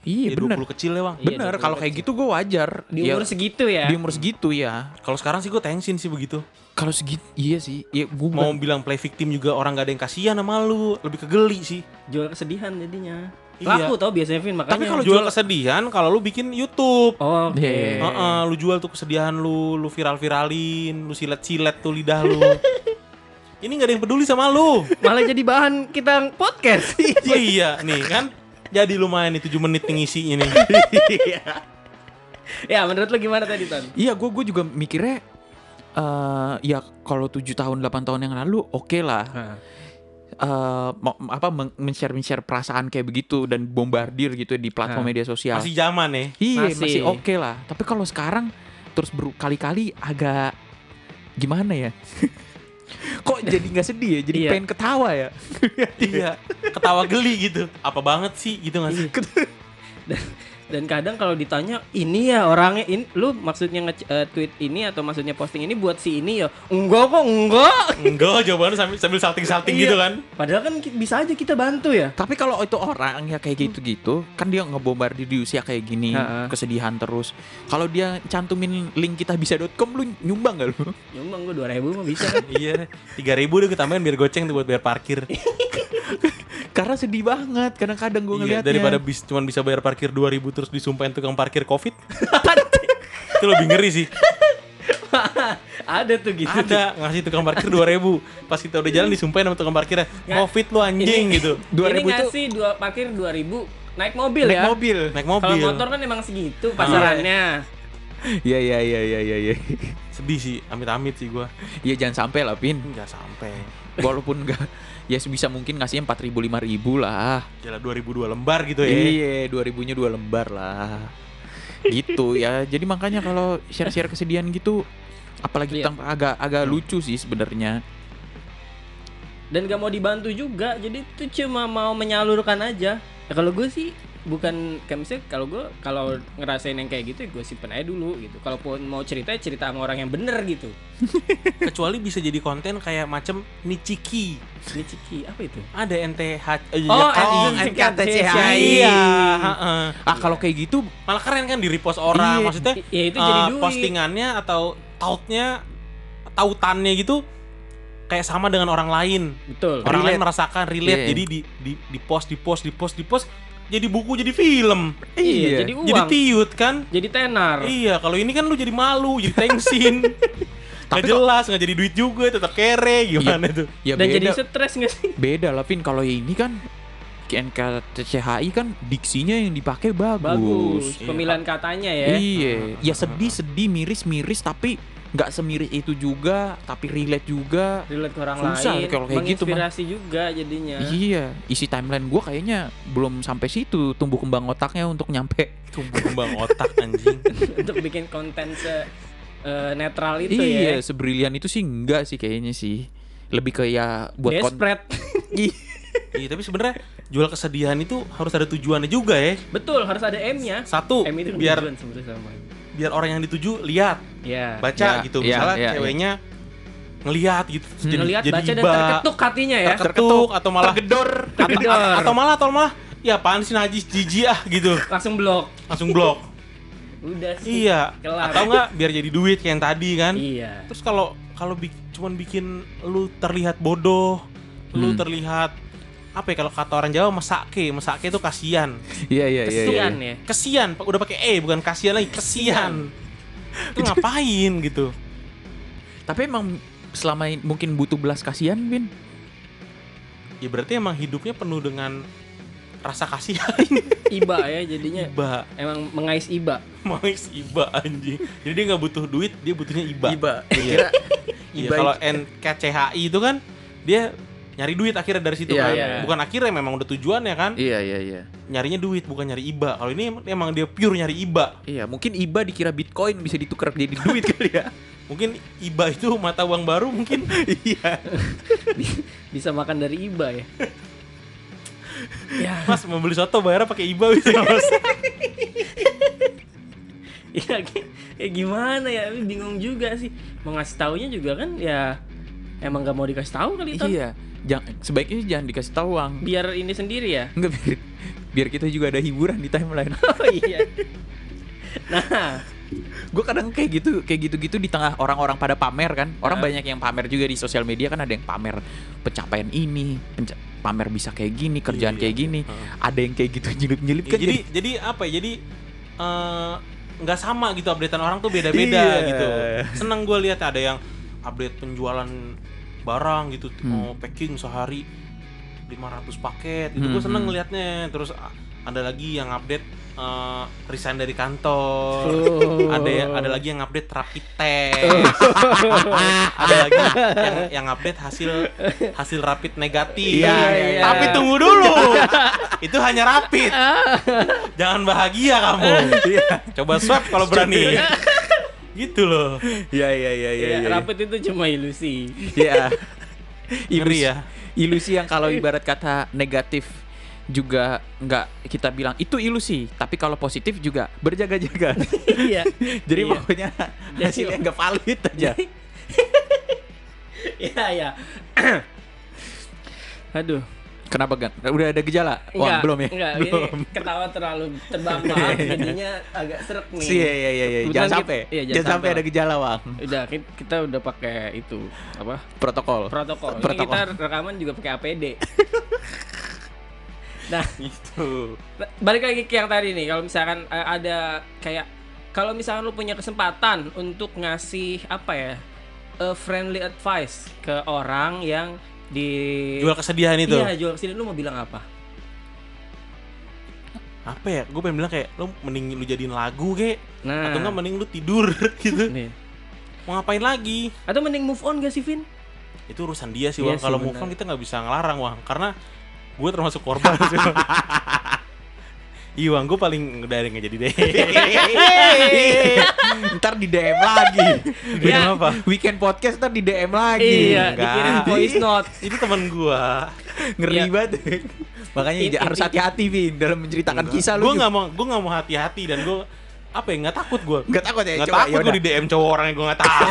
Iya, Ya, bener. 20 kecil ya, Bang. Iya, Bener, 20 kalau kayak gitu gue wajar. Ya, di Iya. umur segitu ya um- di umur segitu ya. Kalau sekarang sih gue tensin sih begitu. Kalau segitu, iya sih. Ya, gue Mau bilang play victim juga orang gak ada yang kasihan sama lu, lebih kegeli sih. jual kesedihan jadinya Iya. laku tau biasanya Vin makanya Tapi kalau jual kesedihan, kalau lu bikin YouTube, oke Iya, iya, iya. Heeh, lu jual tuh kesedihan lu, lu viral-viralin, lu silet-silet tuh lidah lu. Ini gak ada yang peduli sama lu. malah jadi bahan kita podcast iya, nih kan. Jadi lumayan nih 7 menit nih ngisinya nih. ya menurut lo gimana tadi Ton? Iya, gue gue juga mikirnya eh ya kalau 7 tahun 8 tahun yang lalu oke lah. Eh, mau- apa men- men-share men-share perasaan kayak begitu dan bombardir gitu ya di platform Hah. media sosial. Masih zaman ya. iya, Masih. masih, oke lah. Tapi kalau sekarang terus berkali-kali agak gimana ya? Kok jadi nggak sedih ya? Jadi Iya. pengen ketawa ya? iya ketawa geli gitu apa banget sih gitu nggak sih Dan kadang kalau ditanya ini ya orangnya ini lu maksudnya nge-tweet ini atau maksudnya posting ini buat si ini ya? Enggak kok, enggak. enggak jawabannya sambil sambil salting salting gitu Iya. kan Padahal kan ki- bisa aja kita bantu ya. Tapi kalau itu orang ya Hmm. kayak gitu-gitu, kan dia ngebombardir di usia kayak gini, Ha-ha. kesedihan terus. Kalau dia cantumin link kitabisa.com lu nyumbang gak lu? Nyumbang gua 2000 mah bisa kan. iya tiga ribu deh gue tambahin biar goceng tuh buat bayar parkir Karena sedih banget, kadang-kadang gue Iya, ngeliatnya. daripada bis, cuman bisa bayar parkir 2000 terus disumpahin tukang parkir covid itu lebih ngeri sih Ada tuh gitu. ada ngasih tukang parkir 2000 pas kita udah jalan disumpahin sama tukang parkirnya covid lu anjing Ini- gitu 2000 ini tuh- ngasih dua parkir 2000 naik mobil naik ya. mobil. naik Kalau mobil motor kan emang segitu pasarannya. Iya iya iya iya iya. Iya sedih sih amit-amit sih gua Ya, jangan sampai lah Pin. nggak sampai Walaupun gak ya sebisa mungkin ngasihnya 4000 5000 lah. jalan 2002 lembar Oh, gitu ya Iya, 2000-nya dua lembar lah. Gitu ya. Jadi makanya kalau share-share kesedihan gitu apalagi Iya. tentang agak agak lucu sih sebenarnya. Dan gak mau dibantu juga. Jadi itu cuma mau menyalurkan aja. Ya, kalau gue sih bukan kayak misalnya kalau gue kalau ngerasain yang kayak gitu ya gue simpen aja dulu gitu. Kalaupun mau cerita ya cerita sama orang yang bener gitu. kecuali bisa jadi konten kayak macam nichiki Ini ciki apa itu? ada NTH eh, Oh, KI. NTH. NKTCHI. iya heeh. Ah, Iya. kalau kayak gitu malah keren kan di repost Iya. orang maksudnya I- ya itu jadi eh, duit. postingannya atau tautnya tautannya gitu kayak sama dengan orang lain Betul. orang lain Relate. merasakan Iya. relate jadi di di di post di post di post di post jadi buku jadi film Iya, jadi uang. jadi tiut kan Jadi tenar. iya kalau ini kan lu jadi malu jadi tengsin Tapi Gak kok- jelas, gak jadi duit juga, tetap kere, Iya. gimana tuh? ya Dan beda. jadi stres gak sih? beda lah Pin kalau ini kan NKTCHI kan diksinya yang dipakai bagus. Bagus. Iya. Pemilihan katanya ya. Iya, ya sedih sedih miris miris tapi nggak semiris itu juga, tapi relate juga. relate ke orang Susah lain, kalau kayak gitu, menginspirasi juga jadinya. Iya, isi timeline gua kayaknya belum sampai situ tumbuh kembang otaknya untuk nyampe. Tumbuh kembang otak anjing. untuk bikin konten se eh, netral itu iya, ya. sebrilian itu sih enggak sih kayaknya sih. Lebih ke ya buat konten. Desperate. Iya, tapi sebenarnya jual kesedihan itu harus ada tujuannya juga ya. Betul, harus ada M-nya. Satu, M itu biar tujuan sebenarnya sama. biar orang yang dituju lihat, Ya. baca Ya, gitu. ya, Misalnya ya, ya. ceweknya ngelihat gitu, terus jadi, Ngelihat jadi baca dan iba, terketuk hatinya ya. terketuk, atau malah Gedor. atau, atau- atau malah atau malah ya apaan sih najis jijik ah gitu Langsung blok. langsung blok Udah sih. iya Kelar. atau enggak biar jadi duit kayak yang tadi kan Iya. terus kalau kalau bi- cuman bikin lu terlihat bodoh lu Hmm. terlihat apa ya kalau kata orang Jawa mesake mesake itu kasihan Iya, iya, iya. iya. Kesian ya. kesian Pak. udah pakai e bukan kasihan lagi kesian itu ngapain gitu Tapi emang selama ini mungkin butuh belas kasihan, Bin. ya berarti emang hidupnya penuh dengan rasa kasihan Iba ya Iya. jadinya. iba Emang mengais iba. Mangis iba anjing jadi dia nggak butuh duit dia butuhnya iba Kira Iya, Iba kalau NKCHI itu kan dia nyari duit akhirnya dari situ Iya, kan. iya. Bukan akhirnya memang udah tujuannya kan. Iya, iya, iya. Nyarinya duit bukan nyari IBA. Kalau ini em- emang dia pure nyari IBA. Iya, mungkin IBA dikira Bitcoin bisa ditukar jadi duit kali ya. Mungkin IBA itu mata uang baru mungkin. Iya. Bisa makan dari iba ya. ya, Mas mau beli soto bayarnya pakai IBA bisa nggak, Mas. ya, gi- ya gimana ya bingung juga sih mau ngasih taunya juga kan ya emang gak mau dikasih tahu kali Ton. iya. Jangan, sebaiknya sih jangan dikasih tahu, Wang. biar ini sendiri ya Enggak biar, biar kita juga ada hiburan di timeline. oh iya nah gue kadang kayak gitu kayak gitu-gitu di tengah orang-orang pada pamer kan orang banyak yang pamer juga di sosial media kan ada yang pamer pencapaian ini penca- pamer bisa kayak gini kerjaan Iya. kayak gini Heeh. ada yang kayak gitu nyelip-nyelip Ya, kan jadi jadi apa ya? Jadi eh, nggak sama gitu updatean orang tuh beda-beda Iya. gitu. Seneng gue lihat ada yang update penjualan barang gitu, mau packing sehari 500 paket. Itu gue Hmm, seneng hmm. ngeliatnya. Terus a- ada lagi yang update eh, resign dari kantor. Oh. Ada ada lagi yang update rapid test. ada lagi yang yang update hasil hasil rapid negatif. Iya, iya, iya. Tapi tunggu dulu. Itu hanya rapid. Jangan bahagia kamu. Coba swab kalau berani. gitu loh Iya iya iya iya. Ya, iya. rapet itu cuma ilusi. Iya. Ngeri Ilusi, ya. ilusi yang kalau ibarat kata negatif juga nggak kita bilang itu ilusi, tapi kalau positif juga berjaga-jaga. Iya. Jadi Iya. pokoknya Jadi- hasilnya nggak valid aja. Iya, iya. Aduh. Kenapa gan? Udah ada gejala? Wah Enggak, belum ya? Enggak, ini belum. ketawa terlalu terbang-bang jadinya agak seret nih. Sih, iya iya iya iya. Kebetulan Jangan kita- sampai. iya, jangan, sampai ada gejala, Bang. Udah ki- kita udah pakai itu apa? Protokol. Protokol. Ini Protokol. kita rekaman juga pakai APD. nah, gitu ba- balik lagi ke yang tadi nih. Kalau misalkan eh, ada kayak kalau misalkan lu punya kesempatan untuk ngasih apa ya? a friendly advice ke orang yang di jual kesedihan itu Iya, jual kesini lu mau bilang apa? apa ya gue pengen bilang kayak lu mending lu jadiin lagu kek Nah, Ah. atau enggak mending lu tidur gitu nih. mau ngapain lagi Atau mending move on gak sih, Vin? itu urusan dia sih Iya Wang sih, kalau move benar. on kita nggak bisa ngelarang Wang karena gue termasuk korban sih Wang. Iya Wang, gue paling dari nggak jadi deh. Eh, Iya. ntar di DM lagi. Gue apa? Weekend podcast ntar di DM lagi. Kan? Iya, enggak. dikirim voice note. Itu teman gue. Ngeri Iya. banget. Makanya Ini- ja- harus ini- hati-hati Vin dalam menceritakan kisah lu. Gue nggak mau, gue nggak mau hati-hati dan gue apa ya nggak takut gue. Nggak takut ya? Nggak Coba, takut gue yaudah. di DM cowok orang yang gue nggak tahu.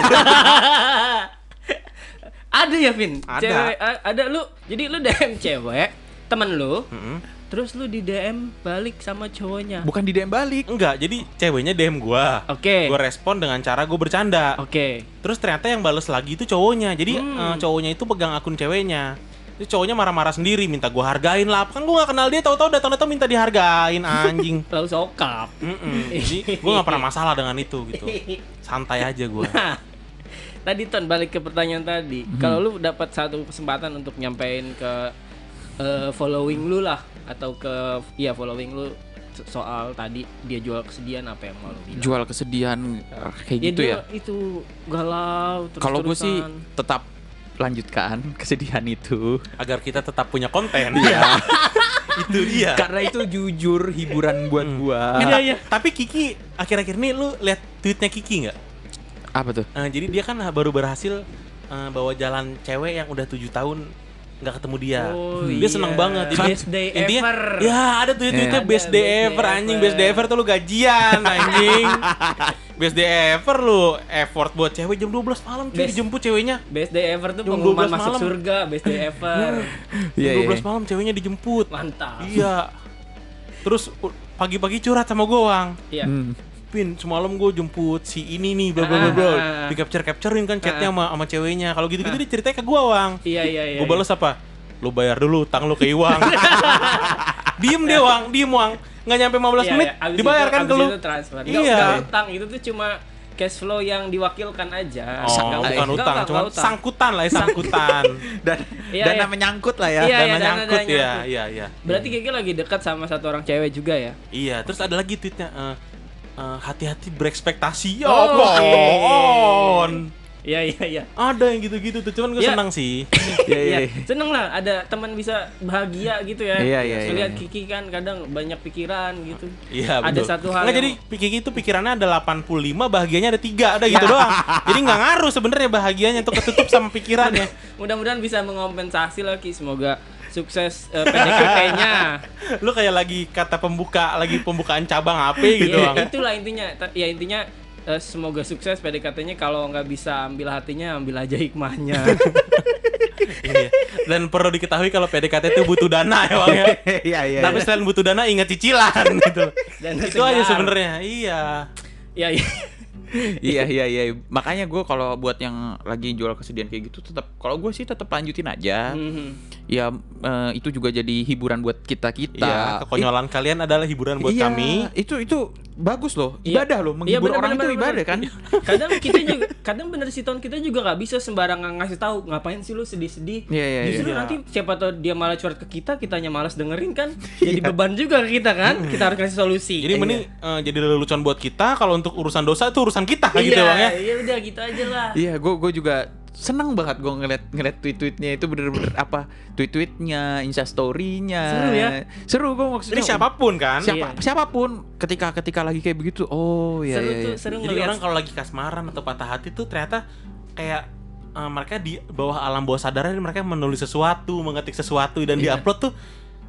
ada ya, Vin? Ada. Cewek, a- ada lu. Jadi lu DM cewek, temen lu, Mm-mm. terus lu di DM balik sama cowoknya. Bukan di DM balik. Enggak, jadi ceweknya DM gue. Oke. Gue respon dengan cara gue bercanda. Oke. Terus ternyata yang bales lagi itu cowoknya. Jadi Hmm. eh, cowoknya itu pegang akun ceweknya. Terus cowoknya marah-marah sendiri, minta gue hargain lah. Kan gue gak kenal dia, tahu-tahu datang-datang minta dihargain anjing. Lalu sokap. Mm-mm. Jadi gue gak pernah masalah dengan itu gitu. Santai aja gue. Nah, tadi Ton balik ke pertanyaan tadi. Hmm. Kalau lu dapat satu kesempatan untuk nyampein ke eh, following lu lah atau ke ya following lu so- soal tadi dia jual kesedihan apa yang mau lu bilang? Jual kesedihan eh, kayak gitu dia ya. itu galau terus Kalau gue sih tetap lanjutkan kesedihan itu. Agar kita tetap punya konten. Iya. itu dia. Karena itu jujur hiburan buat gua. Iya, iya. Tapi Kiki, akhir-akhir ini lu lihat tweetnya Kiki nggak? Apa tuh? Eh, jadi dia kan baru berhasil eh, bawa jalan cewek yang udah tujuh tahun nggak ketemu dia. Oh, iya. dia seneng banget. Jadi Best day ever. Ya ada tweet tweetnya Iya. best Ada day best day ever anjing best day ever. ever tuh lu gajian anjing. best day ever lu effort buat cewek jam 12 malam cuy Best- dijemput ceweknya. best day ever tuh Jam pengumuman 12 masuk malam. surga best day ever Iya, jam 12 iya. malam ceweknya dijemput. mantap Iya. Terus u- pagi-pagi curhat sama gue Wang. iya Hmm. Pin, semalam gue jemput si ini nih, bla bla bla bla. Ah. Di capture capturein kan chatnya sama sama ceweknya. Kalau gitu gitu dia ceritanya ke gue Wang. iya iya iya gue balas apa? Lu bayar dulu utang lu ke Iwang. diem deh Wang, diem Wang. Nggak nyampe Iya, 15 menit iya. Abis dibayarkan itu- ke abis lu. itu transfer Iya. iya utang itu tuh cuma cash flow yang diwakilkan aja Oh, Nggak, bukan nggak, utang, cuma sangkutan lah ya, sangkutan. Dan Iya, dana iya. menyangkut lah ya. Iya, Dan iya, dana- menyangkut dana ya, nyangkut. iya, iya. berarti Kiki lagi dekat sama satu orang cewek juga ya Iya, terus ada lagi tweetnya eh, eh, hati-hati berekspektasi. Ya Oh, apaan? iya iya iya Ada yang gitu-gitu tuh, cuman gue Iya. senang sih. Iya, iya. Eh. Iya, seneng lah ada teman bisa bahagia gitu ya. Iya, iya, Terus iya, Lihat iya. Kiki kan kadang banyak pikiran gitu. Iya, Ada betul. satu hal yang- Nggak, jadi pikir itu pikirannya ada 85, bahagianya ada 3, ada Iya. gitu doang. Jadi nggak ngaruh sebenarnya bahagianya tuh ketutup sama pikirannya. Mudah-mudahan bisa mengompensasi lah Ki. Semoga sukses eh, PDKT-nya. lu kayak lagi kata pembuka lagi pembukaan cabang apa gitu Iya, bang itulah intinya. Ta- Ya intinya eh, semoga sukses PDKT-nya kalau nggak bisa ambil hatinya ambil aja hikmahnya. Iya. dan perlu diketahui kalau PDKT itu butuh dana ya bang ya Iya, iya. tapi selain butuh dana ingat cicilan gitu Dan itu aja segar. sebenarnya iya ya, ya. iya iya iya makanya gue kalau buat yang lagi jual kesedihan kayak gitu tetap kalau gue sih tetap lanjutin aja Mhm. ya eh, itu juga jadi hiburan buat kita kita iya kekonyolan kalian adalah hiburan buat Iya. kami itu itu bagus loh Iya. ibadah loh Iya, menghibur bener, orang bener, itu bener, ibadah bener. kan Kadang kita juga kadang bener sih Ton kita juga nggak bisa sembarangan ngasih tahu ngapain sih lu sedih-sedih. Iya, iya, Justru iya. nanti siapa tahu dia malah curhat ke kita, kitanya malas dengerin kan. Jadi Iya. beban juga ke kita Hmm. kan. Kita harus kasih solusi. Iya. jadi mending eh, jadi lelucon buat kita kalau untuk urusan dosa itu urusan kita Iya, gitu bang ya iya udah gitu aja lah. iya gue gue juga seneng banget gue ngeliat ngeliat tweet-tweetnya itu bener-bener apa tweet-tweetnya instastorynya Seru ya? seru gue maksudnya Ini siapapun kan? siapa Iya. Iya. siapapun ketika ketika lagi kayak begitu oh ya seru ya, tuh ya. seru Jadi ngeliat orang kalau lagi kasmaran atau patah hati tuh ternyata kayak eh, mereka di bawah alam bawah sadarnya mereka menulis sesuatu, mengetik sesuatu dan Iya. diupload tuh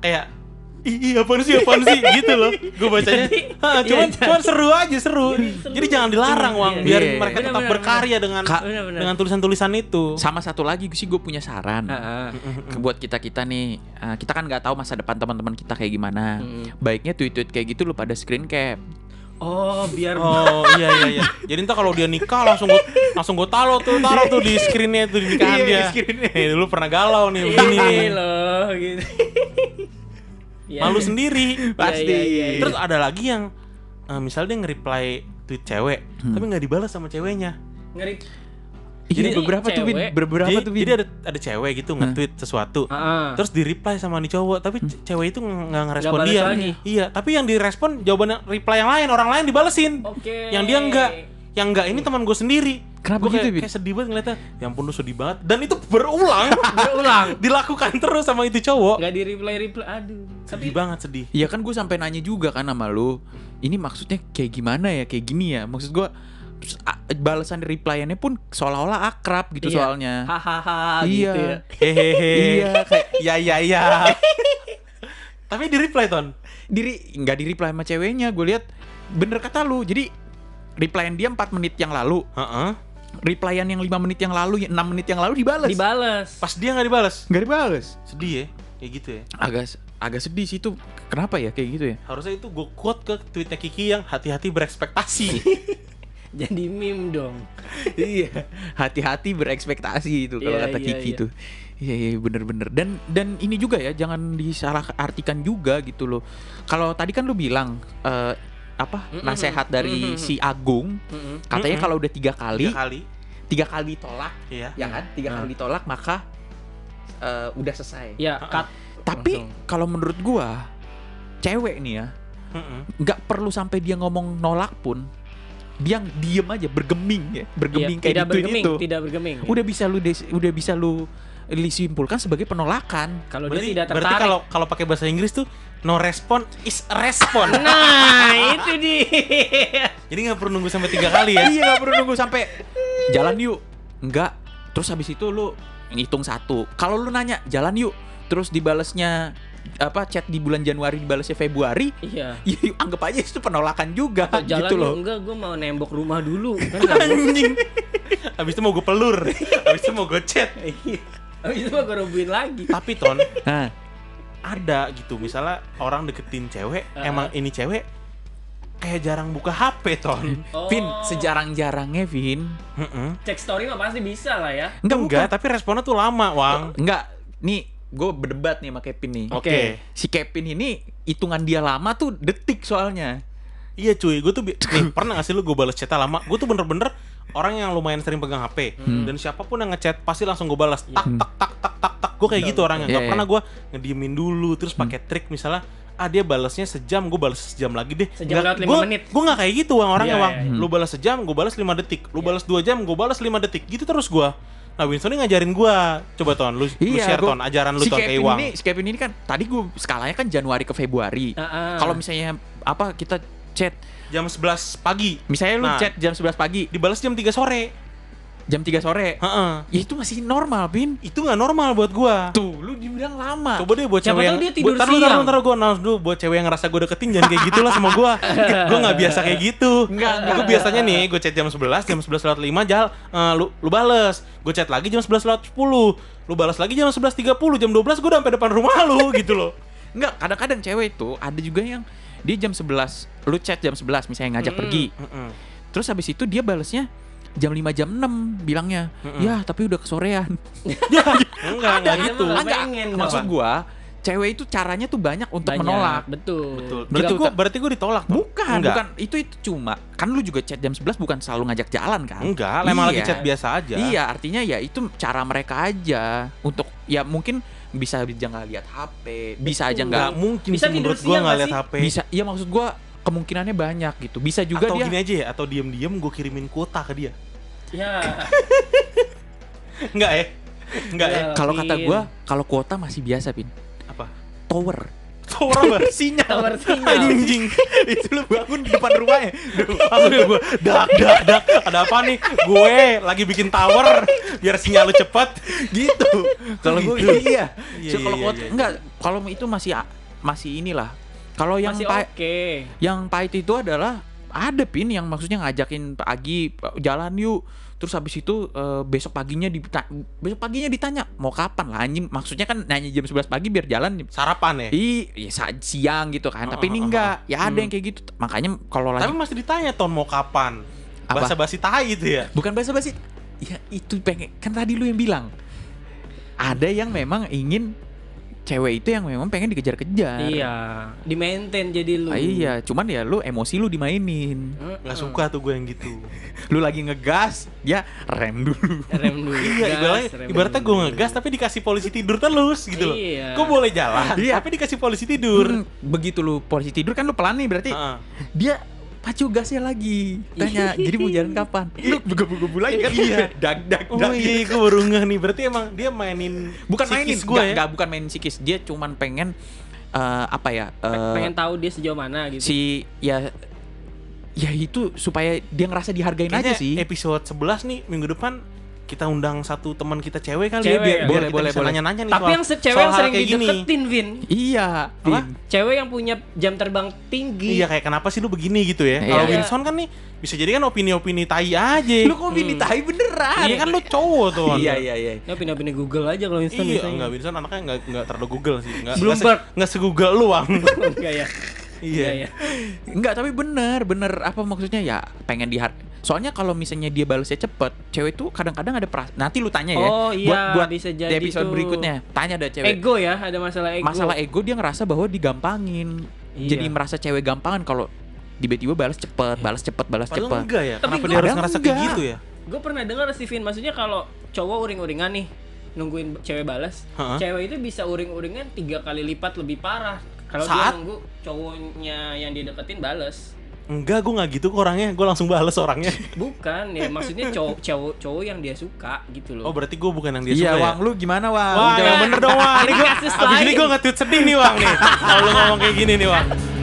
kayak Ih, ih, apaan sih, apaan sih, gitu loh Gue bacanya, Jadi- "Hah, cuman, iya, cuman seru aja, seru Jadi, Jadi seru. jangan dilarang, Iya, Wang iya. Biar Iya, iya. mereka Bener, tetap bener, berkarya dengan Ka- Bener-bener. dengan tulisan-tulisan itu sama satu lagi sih gue punya saran Ah, ah. Ke- buat kita kita nih eh, kita kan nggak tahu masa depan teman-teman kita kayak gimana Mm. baiknya tweet-tweet kayak gitu lu pada screen cap oh biar Oh iya iya iya. Jadi ntar kalau dia nikah langsung gue langsung gue taro tuh taruh tuh di screennya tuh di nikahan Iya, di dia. Nih dulu pernah galau nih begini nih. ini loh gitu Iya, Malu iya. sendiri. Pasti. iya, iya, iya. Terus ada lagi yang eh, misalnya dia nge-reply tweet cewek Hmm. tapi nggak dibalas sama ceweknya. ngeri Iya, Jadi beberapa tuh Win? cewek- beberapa jadi, tuh Win? jadi ada ada cewek gitu nge-tweet sesuatu. Ah, ah. Terus di-reply sama nih cowok, tapi Hmm. ce- cewek itu nge- nggak ngerespon Nggak balas dia. lagi. Iya, tapi yang direspon jawabannya reply yang lain, orang lain dibalesin. oke yang dia enggak yang enggak ini teman gue sendiri Kenapa Gua gitu, kayak, Bin? kayak sedih banget ngeliatnya ya ampun lu sedih banget dan itu berulang berulang dilakukan terus sama itu cowok nggak di reply reply aduh sedih banget sedih Iya kan gue sampai nanya juga kan sama lu Ini maksudnya kayak gimana ya Kayak gini ya Maksud gue terus a- Balasan replyannya pun seolah-olah akrab gitu Iya. soalnya hahaha Iya. gitu ya hehehe Iya kayak ya ya ya tapi di reply Iya. ton diri nggak di reply sama ceweknya Gue lihat bener kata lu Jadi replyan dia 4 menit yang lalu Heeh. Replyan yang 5 menit yang lalu 6 menit yang lalu dibales dibales pas dia nggak dibalas Nggak dibales sedih ya kayak gitu ya Agak agak sedih sih itu Kenapa ya kayak gitu ya harusnya itu gue quote ke tweetnya Kiki yang hati-hati berekspektasi jadi meme dong iya hati-hati berekspektasi itu kalau Iya, kata iya, Kiki iya. itu iya iya bener-bener dan dan ini juga ya jangan disalahartikan juga gitu loh kalau tadi kan lu bilang eh, apa Mm-mm. nasehat dari Mm-mm. si Agung Mm-mm. katanya Mm-mm. kalau udah tiga kali Tiga kali tiga kali ditolak iya ya kan tiga Mm. kali ditolak maka eh, udah selesai ya Ah, cut tapi langsung. kalau menurut gua cewek nih ya Heeh. nggak perlu sampai dia ngomong nolak pun dia diem aja bergeming ya bergeming Iya, kayak tidak di tweet bergeming itu tidak bergeming udah bisa lu des- udah bisa lu disimpulkan sebagai penolakan. kalau dia berarti, tidak berarti tertarik kalau kalau pakai bahasa Inggris tuh no response is a response nah itu dia jadi nggak perlu nunggu sampai tiga kali ya Iya nggak perlu nunggu sampai jalan yuk. Enggak. Terus habis itu lu ngitung satu. Kalau lu nanya jalan yuk, terus dibalasnya apa chat di bulan Januari dibalasnya Februari, iya ya yuk, anggap aja itu penolakan juga Atau jalan gitu yuk, loh. enggak gue mau nembok rumah dulu kan nggak boleh. anjing abis itu mau gue pelur abis itu mau gue chat Abis itu mah gue robuin lagi tapi ton Nah, ada gitu misalnya orang deketin cewek Uh-uh. emang ini cewek kayak jarang buka HP ton Vin, Oh, sejarang-jarangnya Vin. Heeh. cek story mah pasti bisa lah ya Enggak, enggak bukan. tapi responnya tuh lama wang Enggak. Nih, gue berdebat nih sama Kevin nih. oke Si Kevin ini hitungan dia lama tuh detik soalnya. iya cuy gue tuh bi- nih, pernah gak sih lu gue balas chatnya lama gue tuh bener-bener orang yang lumayan sering pegang HP Hmm. dan siapapun yang ngechat pasti langsung gue balas tak tak tak tak tak tak gue kayak gitu orangnya Iya, nggak iya. Hmm. pernah gue ngediemin dulu terus pakai trik misalnya ah dia balasnya sejam gue balas sejam lagi deh Sejam lewat lima menit. gue nggak kayak gitu wang orangnya Iya, wang iya, lu balas sejam gue balas lima detik lu balas dua jam gue balas lima detik gitu terus gue nah Winston ini ngajarin gue coba ton lu, lu Iya, share gua- ton ajaran lu si ton kayak Kevin Wang ini, si Kevin ini kan tadi gue skalanya kan Januari ke Februari. Ah, ah. Kalau misalnya apa kita chat, jam 11 pagi misalnya lu Nah. chat jam 11 pagi, dibalas jam 3 sore jam 3 sore. Heeh. Ya itu masih normal, Pin. itu nggak normal buat gue Tuh, lu dibilang lama. Coba deh buat Siapa tahu cewek yang dia tidur buat, taruh, siang. Taruh, taruh, gue announce dulu buat cewek yang ngerasa gue deketin jangan kayak gitu lah sama gue. gue nggak biasa kayak gitu. Enggak, enggak. Gue biasanya nih gue chat jam 11, jam 11 lewat 5 jal, eh, lu, lu bales. Gue chat lagi jam 11 lewat 10. Lu balas lagi jam 11.30, jam 12 gue udah sampai depan rumah lu gitu loh. Enggak, kadang-kadang cewek itu ada juga yang dia jam 11, lu chat jam 11 misalnya ngajak Mm-mm. Hmm. pergi. Mm-mm. Terus habis itu dia balesnya jam 5 jam 6 bilangnya. Mm-mm. Ya, tapi udah kesorean. Enggak, enggak ada. gitu. Nggak Enggak, pengen, maksud apa? gua cewek itu caranya tuh banyak untuk Banyak. menolak. betul Betul. Berarti Berarti gue uta- berarti gue ditolak. Ton. Bukan, Enggak. bukan itu itu cuma kan lu juga chat jam 11 bukan selalu ngajak jalan kan? Enggak, lah emang lagi Iya. chat biasa aja. Iya, artinya ya itu cara mereka aja untuk ya mungkin bisa aja nggak lihat HP, bisa aja nggak Enggak mungkin Bisa sih tidur menurut gue siang nggak nggak lihat HP. bisa. Iya maksud gua kemungkinannya banyak gitu. Bisa juga ya. atau dia gini aja ya, atau diem-diem gue kirimin kuota ke dia. ya Enggak ya? Enggak ya? Iya. Kalau kata Pin. gua, kalau kuota masih biasa, Pin. Apa? Tower. Tower apa? Sinyal. Tower sinyal. Anjing. Itu lu bangun di depan ya? rumahnya. Langsung gue dak dak dak. Ada apa nih? Gue lagi bikin tower biar sinyal lu cepat. gitu. Kalau gua Gitu. iya. Iya, So, kalau iya, kuota iya, iya. enggak, kalau itu masih masih inilah. Kalau yang Masih pa- oke. yang pahit itu adalah ada pin yang maksudnya ngajakin pagi jalan yuk terus habis itu eh, besok paginya dita- besok paginya ditanya mau kapan lah anjing maksudnya kan nanya jam 11 pagi biar jalan Sarapan ya? i ya, sa- siang gitu kan tapi ini Ah, ah, enggak ya ada Hmm. yang kayak gitu makanya kalau Tapi lagi masih ditanya Ton mau kapan? Apa? Bahasa basi tai itu ya? bukan bahasa basi ya itu pengen kan tadi lu yang bilang ada yang memang ingin cewek itu yang memang pengen dikejar-kejar Iya, di maintain jadi lu. Hmm. Ah, iya cuman ya lu emosi lu dimainin Mm-mm. Gak suka tuh gue yang gitu. lu lagi ngegas ya rem dulu Rem dulu. Iya, gas, ibaratnya, rem ibaratnya gue dulu. ngegas tapi dikasih polisi tidur terus gitu loh. Iya. Gue boleh jalan Iya. tapi dikasih polisi tidur. Hmm, begitu lu polisi tidur kan lu pelan nih berarti Heeh. dia pacu gasnya lagi tanya jadi mau jalan kapan Iya. lu begebu-gebu lagi kan Iya. dag dag Oh dag iya, gue baru ngeh nih. Berarti emang dia mainin bukan mainin psikis gue gue ya? bukan main psikis dia cuman pengen eh, apa ya eh, pengen tahu dia sejauh mana gitu. si ya ya itu supaya dia ngerasa dihargain Kayaknya aja sih episode 11 nih minggu depan kita undang satu teman kita cewek kali ya Cewek biar, ya? biar Boleh, kita boleh, bisa boleh. nanya-nanya nih Tapi soal- yang se- cewek soal yang hal sering kayak gini. dideketin, Vin. iya Apa? Vin. Cewek yang punya jam terbang tinggi. Iya kayak kenapa sih lu begini gitu ya? Iya. Kalau Iya. Wilson kan nih bisa jadi kan opini-opini tai aja. lu kok bini Hmm. tai beneran Iya kan lu cowok tuh. iya iya iya Ya pindah-pindah Google aja kalau instan Iya, biasanya. enggak Wilson anaknya enggak enggak terlalu Google sih. Enggak Bloomberg. enggak se Google lu, Wang. Enggak ya. Iya. Iya, iya. Enggak, tapi bener, bener apa maksudnya ya pengen dihar. Soalnya kalau misalnya dia balesnya cepet, cewek tuh kadang-kadang ada perasaan. Nanti lu tanya ya. Oh, iya, buat, buat bisa di jadi episode tuh. berikutnya. Tanya ada cewek. Ego ya, ada masalah ego. Masalah ego dia ngerasa bahwa digampangin. Iya. Jadi merasa cewek gampangan kalau tiba-tiba balas cepet, balas cepet, balas Padahal cepet. enggak ya? Tapi gua- Kenapa dia harus Padahal ngerasa kayak enggak. gitu ya? Gue pernah dengar sih Vin, maksudnya kalau cowok uring-uringan nih nungguin cewek balas, Ha-ha. cewek itu bisa uring-uringan tiga kali lipat lebih parah kalau Saat? dia nunggu cowoknya yang dia deketin balas. Enggak, gue enggak gitu kok orangnya. Gue langsung bales orangnya. Bukan ya, maksudnya cowok cowok cowok yang dia suka gitu loh. Oh, berarti gue bukan yang dia Iya, suka ya? Wang, lu gimana, Wang? Wah, Udah, yang bener dong, Wang. Ini Ini gua, kasus abis lain. ini gue nge-tweet sedih nih, Wang. Nih. Kalau lu ngomong kayak gini nih, Wang.